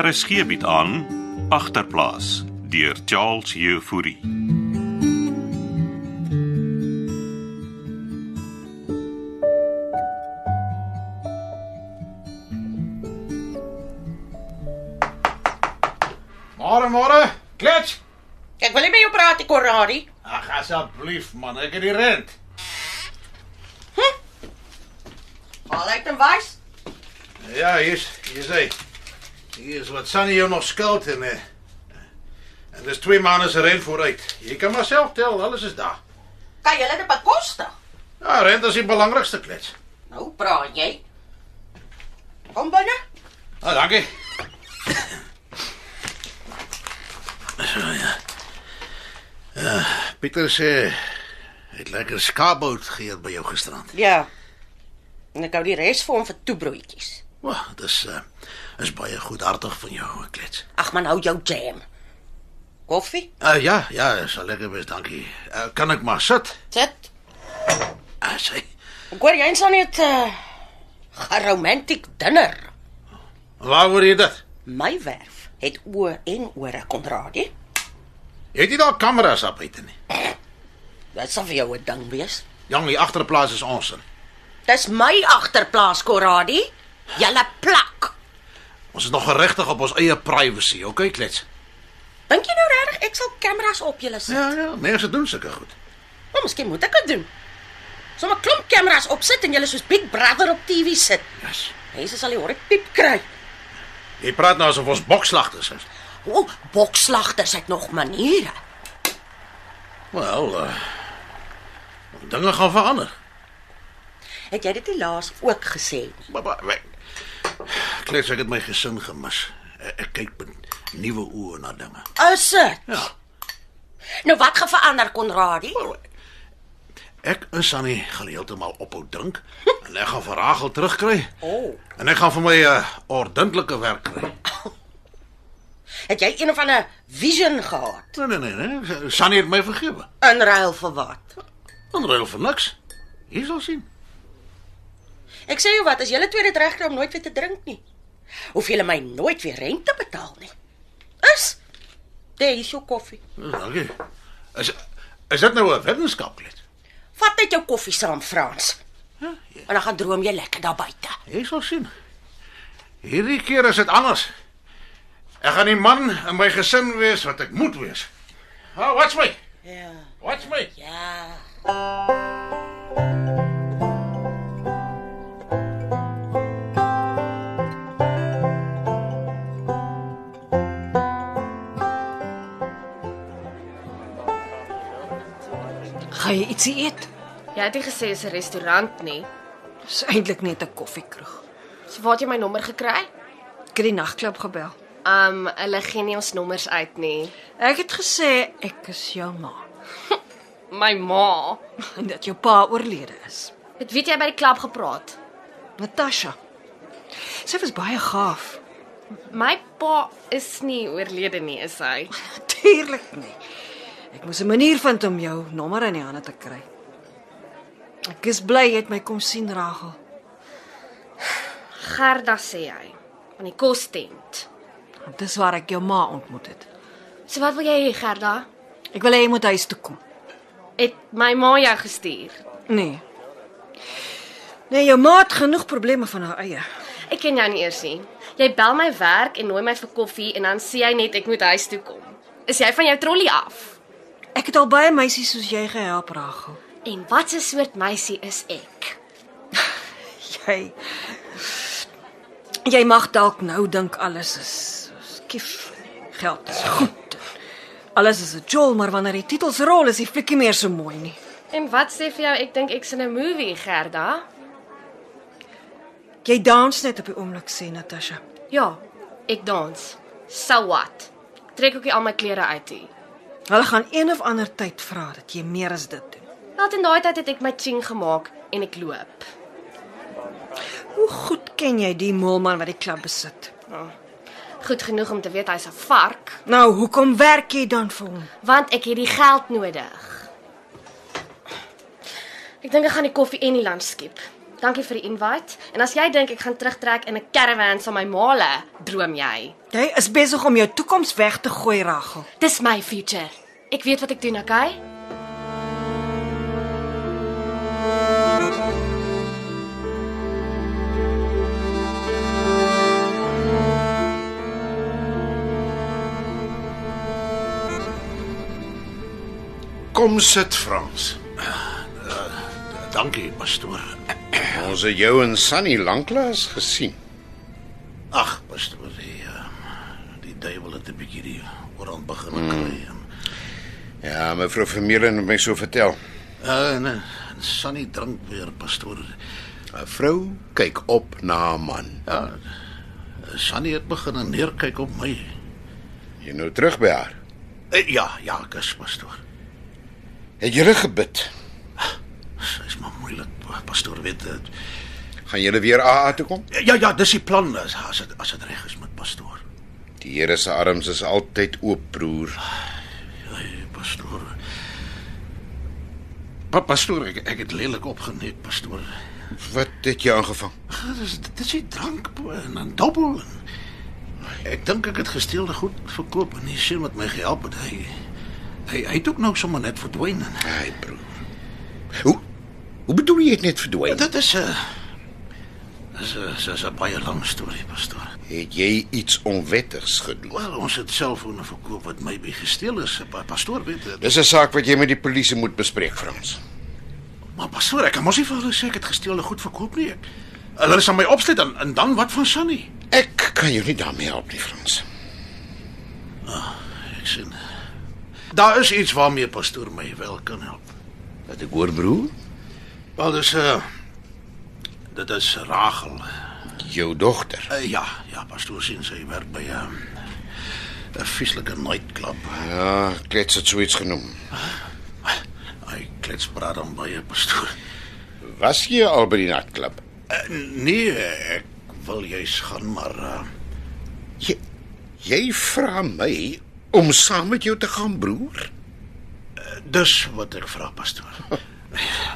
RSG bied aan agterplaas deur Charles Jefouri. Môre môre. Klets. Ek wil nie met jou praat nie, Corradi. Ag asseblief man, ek het die rent. Haal uit en wys. Ja, hier's hier's hy. Hier is wat Sunny jou nog skuld en eh, en dis 2 maande se rent vooruit. Jy kan maar self tel, alles is daar. Kan jy dit bekostig? Ja, rent is die belangrikste klets. Nou praat jy. Kom binne. Ah, dankie. So ja. Ja, Pieter sê hy het lekker skaapbout geëet by jou gisterand. Ja. En ek hou die res vir hom vir toebroodjies. Wag, dis uh, is baie goedhartig van jou, klets. Ag man, hou jou nou, jam. Koffie? Uh, ja, ja, is al lekker best, dankie. Uh, kan ek maar sit? Sit. Uh, sê, Ek hoor jy eens aan net 'n uh, romantiek diner. waar word jy dit? My werf het oë en ore, Conradie. Jy het nie daar kameras op buite nie. Ja, Dit sal vir jou 'n ding wees. Jong, die agterplaas is ons in. Dis my agterplaas, Conradie. Julle plak. Ons is nog geregtig op ons eie privacy, okay, klets? Dink jy nou regtig ek sal kameras op julle sit? Ja, ja, mense doen sulke goed. Maar miskien moet ek dit doen. Sommige klomp kameras opsit en julle soos Big Brother op TV sit. Yes. Mense sal die hore piep kry. Jy praat nou asof ons bokslagters is. O, oh, bokslagters het nog maniere. Wel, uh, dinge gaan verander. Het jy dit nie laas ook gesê nie? Maar, maar we- klets ek het my gesin gemis. Ek, ek kyk met nuwe oë na dinge. Is dit? Ja. Nou wat gaan verander, Konradie? Ek is aan die geheeltemal ophou dink en ek gaan vir Ragel terugkry. O. En ek gaan vir my 'n uh, ordentlike werk kry. Het jy een of ander vision gehad? Nee nee nee, nee. Sannie het my vergewe. In ruil vir wat? Dan ruil vir niks. Jy sal sien. Ek sê jou wat, as julle twee dit regkry om nooit weer te drink nie, hoef julle my nooit weer rente betaal nie. Is? Daar is jou koffie. Dis Eh, Dankie. Is is dit nou 'n wetenskap klets? Vat net jou koffie saam, Frans. Ja, En dan gaan droom jy lekker daar buite. jy sal sien. Hierdie keer is dit anders. Ek gaan die man in my gesin wees wat ek moet wees. Ah, oh, watch my. Ja. Watch my. Ja. Gaan jy ietsie eet? Jy het nie gesê dis 'n restaurant nie. Dis eintlik net 'n koffiekroeg. So waar het jy my nommer gekry? Ek het die nagklub gebel. Um, hulle gee nie ons nommers uit nie. Ek het gesê ek is jou ma My ma. en dat jou pa oorlede is. Het weet jy by die klub gepraat. Natasha. Sy was baie gaaf. My pa is nie oorlede nie, is hy. Natuurlik nie. Ek moes 'n manier vind om jou nommer in die hande te kry. Ek is bly jy het my kom sien, Ragel. Gerda sê hy van die kostent. Want dis waar ek jou ma ontmoet het. So wat wil jy hê, Gerda? Ek wil hê jy moet huis toe kom. Het my ma jou gestuur? Nee. Nee, jou ma het genoeg probleme van haar eie. Ek ken jou nie eers nie. Jy bel my werk en nooi my vir koffie en dan sê jy net ek moet huis toe kom. Is jy van jou trolly af? Ek het al baie meisies soos jy gehelp, Ragel. En wat 'n soort meisie is ek? Jy jy mag dalk nou dink alles is skief. Geld is goed. Alles is 'n jol, maar wanneer die titels rol is die fliek nie meer so mooi nie. En wat sê vir jou ek dink ek's in 'n movie, Gerda? Jy dans net op die oomblik sê Natasha. Ja, ek dans. So what? Trek ook nie al my klere uit nie. Hulle gaan een of ander tyd vra dat jy meer as dit doen. Wel in daai tyd het ek my ching gemaak en ek loop. Hoe goed ken jy die molman wat die klub besit? Goed genoeg om te weet hy's 'n vark, Nou, hoekom werk jy dan vir hom? want ek het die geld nodig. Ek dink ek gaan die koffie en die lunch skep. Dankie vir die invite. En as jy dink ek gaan terugtrek in 'n caravan saam my male, droom jy. Jy is besig om jou toekoms weg te gooi, Rachel. Dis my future. Ek weet wat ek doen, okay? Kom sit, Frans. Dankie, pastoor. Ons het jou en Sunny lanklaas gesien. Ag, pastoor, die ehm, die duiwel het 'n bietjie die oorhand begin kry. Mm. Ja, mevrou Vermeulen het my so vertel. En, eh, en Sunny drink weer, pastoor. 'n Vrou kyk op na 'n man. Ja. Sunny het begin neerkyk op my. Jy nou terug by haar. Eh, Ja, ja, kus, pastoor. Het julle gebid? Dit is maar moeilik, pastoor weet dit. Gaan julle weer AA toe kom? Ja, ja, dis die plan as as dit as dit reg is met pastoor. Die Here se arms is altyd oop, broer. Hey, Ja, pastoor. Pa, pastoor, ek, ek het lelik opgeneek, pastoor. Wat het jou aangevang? Ah, Dis dis die drank pa, en dan dobbel. Ek dink ek het gesteelde goed verkoop en die seun wat my gehelp het, hy hy hy het ook nou sommer net verdwyn. Ai, broer. Hoe Hoe bedoel jy het net verdwyn? Dit is 'n dis is is 'n baie lang storie, pastoor. Het jy iets onwettigs gedoen? Wel, ons het selfone verkoop wat my by gesteel is, pa, pastoor weet dit. Dis 'n saak wat jy met die polisie moet bespreek, Frans. Maar pastoor, ek kan mos nie vir hulle sê ek het gesteelde goed verkoop nie. Ek, hulle sal my opsluit en, en dan wat van Sunny? Ek kan jou nie daarmee help nie, Frans. Ek sien. Daar is iets waarmee pastoor my wel kan help. Wat ek hoor, broer? Wel, dis 'n uh, dit is Rachel. Jou dogter. Uh, ja, ja, pastoor sien sy werk by 'n uh, 'n vieslike nightclub. Ja, klets het zoiets genoem. Hy klets praat dan baie pastoor. Was jy al by die nachtklub? Uh, nee, ek wil jy's gaan maar uh, Jy, jy vra my om saam met jou te gaan, broer? Dis wat ek vra pastoor.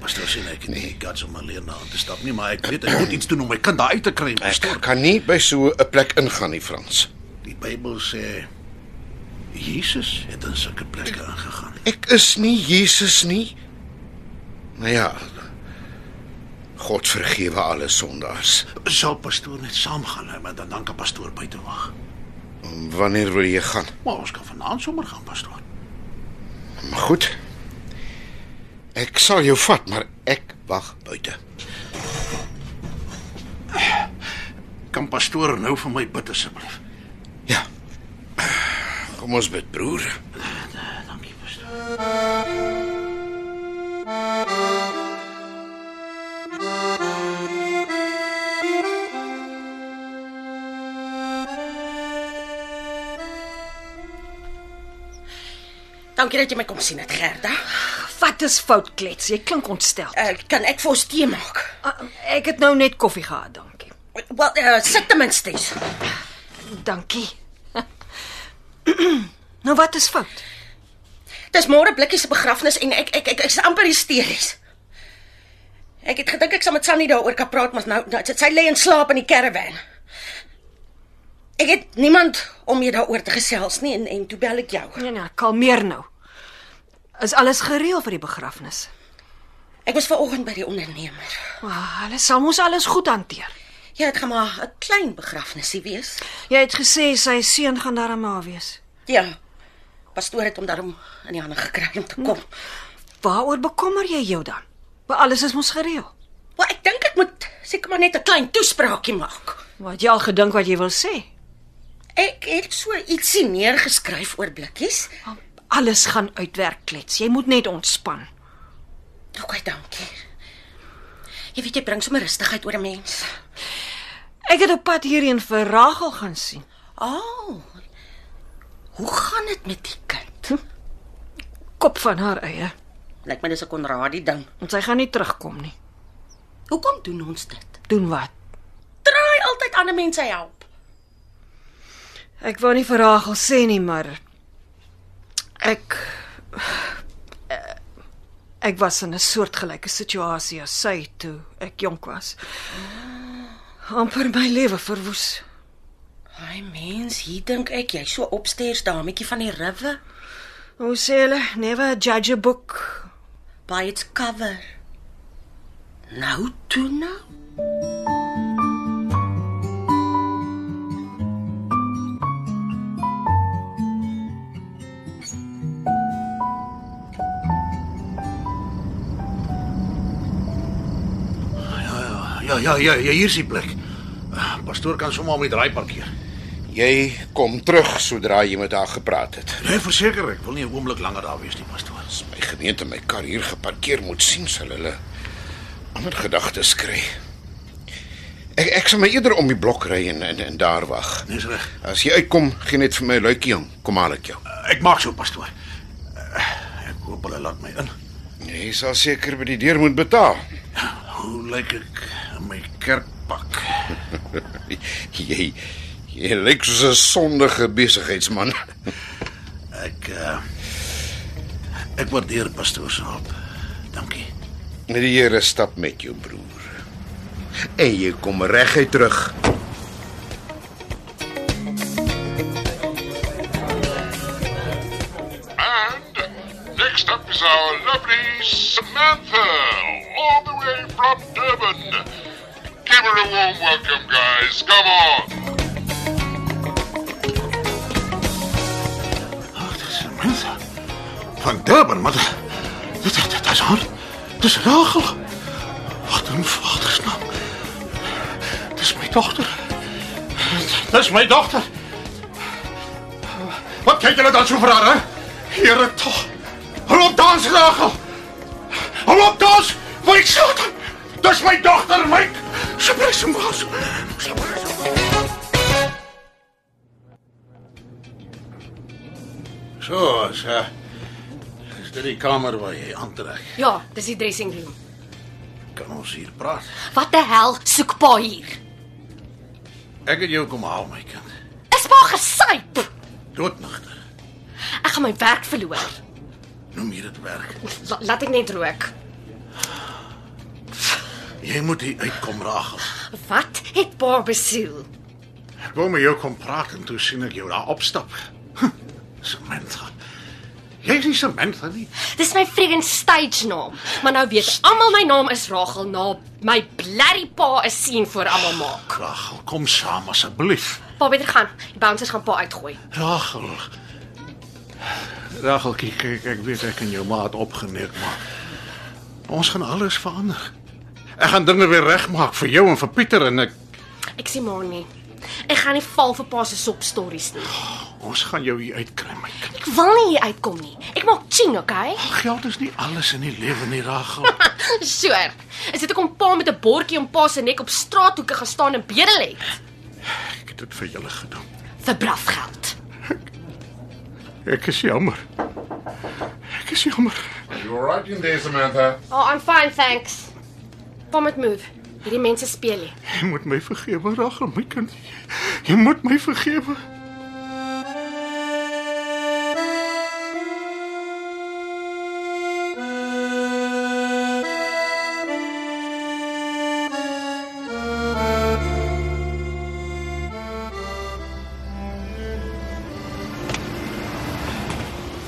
Pastoor sê ek Nee. het nie gats om alleen na te stap nie, maar ek weet ek moet iets doen om my kind daar uit te kry, pastoor. Ek kan nie by so 'n plek ingaan nie, Frans. Die Bybel sê Jesus het in sulke plekke ingegaan. Ek is nie Jesus nie. Nou ja. God vergewe alle sondaars. Sal pastoor net saamgaan, hè, maar dan dan kan pastoor buite wag. Wanneer wil jy gaan? Maar ons kan vanaand sommer gaan, pastoor. Maar goed. Ek sal jou vat, maar ek wag buite. Kan pastoor nou vir my bid asseblief? Ja. Kom ons bid, broer. Dankie, pastoor. Dankie dat jy my kom sien, het Gerda. Wat is fout, klets? Jy klink ontstel. Uh, kan ek vir ons tee maak? Ah, Ek het nou net koffie gehad, dankie. Wel, uh, sit ten minste. eens. Dankie. nou wat is fout? Dis môre blikkies se begrafnis en ek ek ek ek's amper hysteries. Ek het gedink ek sal met Sunny daaroor kan praat, maar nou, nou sy lê en slaap in die caravan. Ek het niemand om mee daaroor te gesels nie en en toe bel ek jou. Nee nee, kalmeer nou. Is alles gereël vir die begrafnis? Ek was ver oggend by die ondernemer. Ah, hulle sal mos alles goed hanteer. Ja, dit gaan maar 'n klein begrafnisie wees. Jy het gesê sy seun gaan daar aan ma wees. Ja. Pastoor het hom daarom in die hande gekry om te kom. Waaroor bekommer jy jou dan? Maar alles is mos gereël. Maar ek dink ek moet seker maar net 'n klein toespraakie maak. Wat jy al gedink wat jy wil sê. Ek het so ietsie neergeskryf oor blikkies. Alles gaan uitwerk klets. Jy moet net ontspan. OK, Nou, dankie. Jy weet jy bring sommer rustigheid oor 'n mens. Ek het op pad hierheen vir Rachel gaan sien. Ooh. Hoe gaan dit met die kind? Kop van haar eie. Hm? Lyk my dis 'n Konradie ding. Want sy gaan nie terugkom nie. Hoekom doen ons dit? Doen wat? Draai altyd ander mense help. Ek wou nie vir Rachel sê nie, maar ek Ek was in 'n soortgelyke situasie as sy toe ek jonk was. amper my lewe verwoes. Ai mens, hier dink ek jy so opstairs dametjie van die rivier Hoe sê hulle? Never judge a book by its cover. Nou toe nou. Ja, ja, ja, ja, hier is die plek. Eh, Pastoor kan sommer om die draai parkeer. Jy kom terug sodra jy met haar gepraat het. Nee, verseker, ek wil nie 'n oomblik langer daar wees nie, pastoor. My gemeente my kar hier geparkeer moet sien sal hulle ander gedagtes kry. Ek ek sal my eerder om die blok ry en en, en daar wag. Dis reg. As jy uitkom, gee net vir my 'n luikie om. Kom haal ek jou. Ek maak so, pastoor. Eh, Ek hoop hulle laat my in. Jy sal seker by die deur moet betaal. Hoe lyk ek in my kerkpak? Jy jy lyk soos 'n sondige besigheidsman. Ek uh, ek waardeer pastoor se hulp. Dankie. Die Here stap met jou broer. En jy kom reguit terug. And next up is our lovely Samantha, all the way from Durban. Give her a warm welcome, guys. Come on. Ag, dis mense. Van Durban, maar dit dit dit is haar. Dis Rachel. Wat 'n vadersnaam. Dis my dogter. Dis my dogter. Wat kyk julle dan so vir haar, hè? Here tog. Hou op dans, Rachel. Hou op dans. Wat ek sê. Dis my dogter, my. Sy bly so maar. Sy bly so. So, so. Is dit die kamer waar jy aantrek? Ja, dis die dressing room. Kan ons hier praat? Wat die hel soek pa hier? Ek het jou kom haal, my kind. Is pa gesyp? Doodnagter. Ek gaan my werk verloor. Noem hier dit werk. La, laat ek net rook. Jy moet hier uitkom, Rachel. Wat het pa besiel? Ek wou met jou kom praat en toe sien ek jou daar opstap. Hm, Samantha. Jy is nie Samantha nie. Dis my friggin stage naam. Maar nou weet almal my naam is Rachel na my blerry pa 'n sien voor almal maak. Rachel, kom saam asseblief. Pa beter gaan. Die bouncers gaan pa uitgooi. Rachel. Rachel, kyk, kyk, ek weet ek en jou maat opgeneek maar ons gaan alles verander. Ek gaan dinge weer regmaak vir jou en vir Pieter en ek Ek sien maar nie. Ek gaan nie val vir pa se sop stories nie. ons gaan jou hier uitkry my kind. Ek wil nie hier uitkom nie. Ek maak ching, okay? Geld is nie alles in die lewe nie, Rachel. Sure. Is dit hoekom pa met 'n bordjie om pa se nek op straathoeke gaan staan en bedel het Ek het dit vir julle gedoen. vir blafgeld? Ek is jammer. Ek is jammer. You all right in there, Samantha? Oh, I'm fine, thanks. Pa moet move. Hierdie mense speel nie. Jy moet my vergewe, Rachel, my kind. Jy moet my vergewe.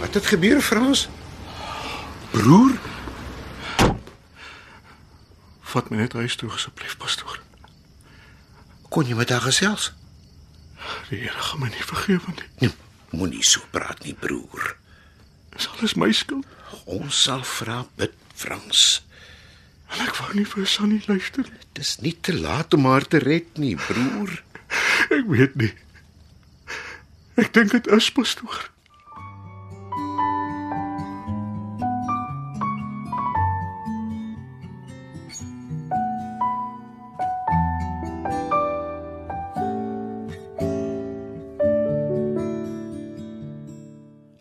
Wat het gebeur, Frans? Broer. Vat my net huis toe asseblief, pastoor. Kon jy met haar gesels? Die Here gaan my nie vergewe nie. Nee, moenie so praat nie, broer. Dis alles my skuld. Ons sal vra bid, Frans. En ek wou nie vir Sunny luister nie. Dis nie te laat om haar te red nie, broer. Ek weet nie. Ek dink dit is pastoor.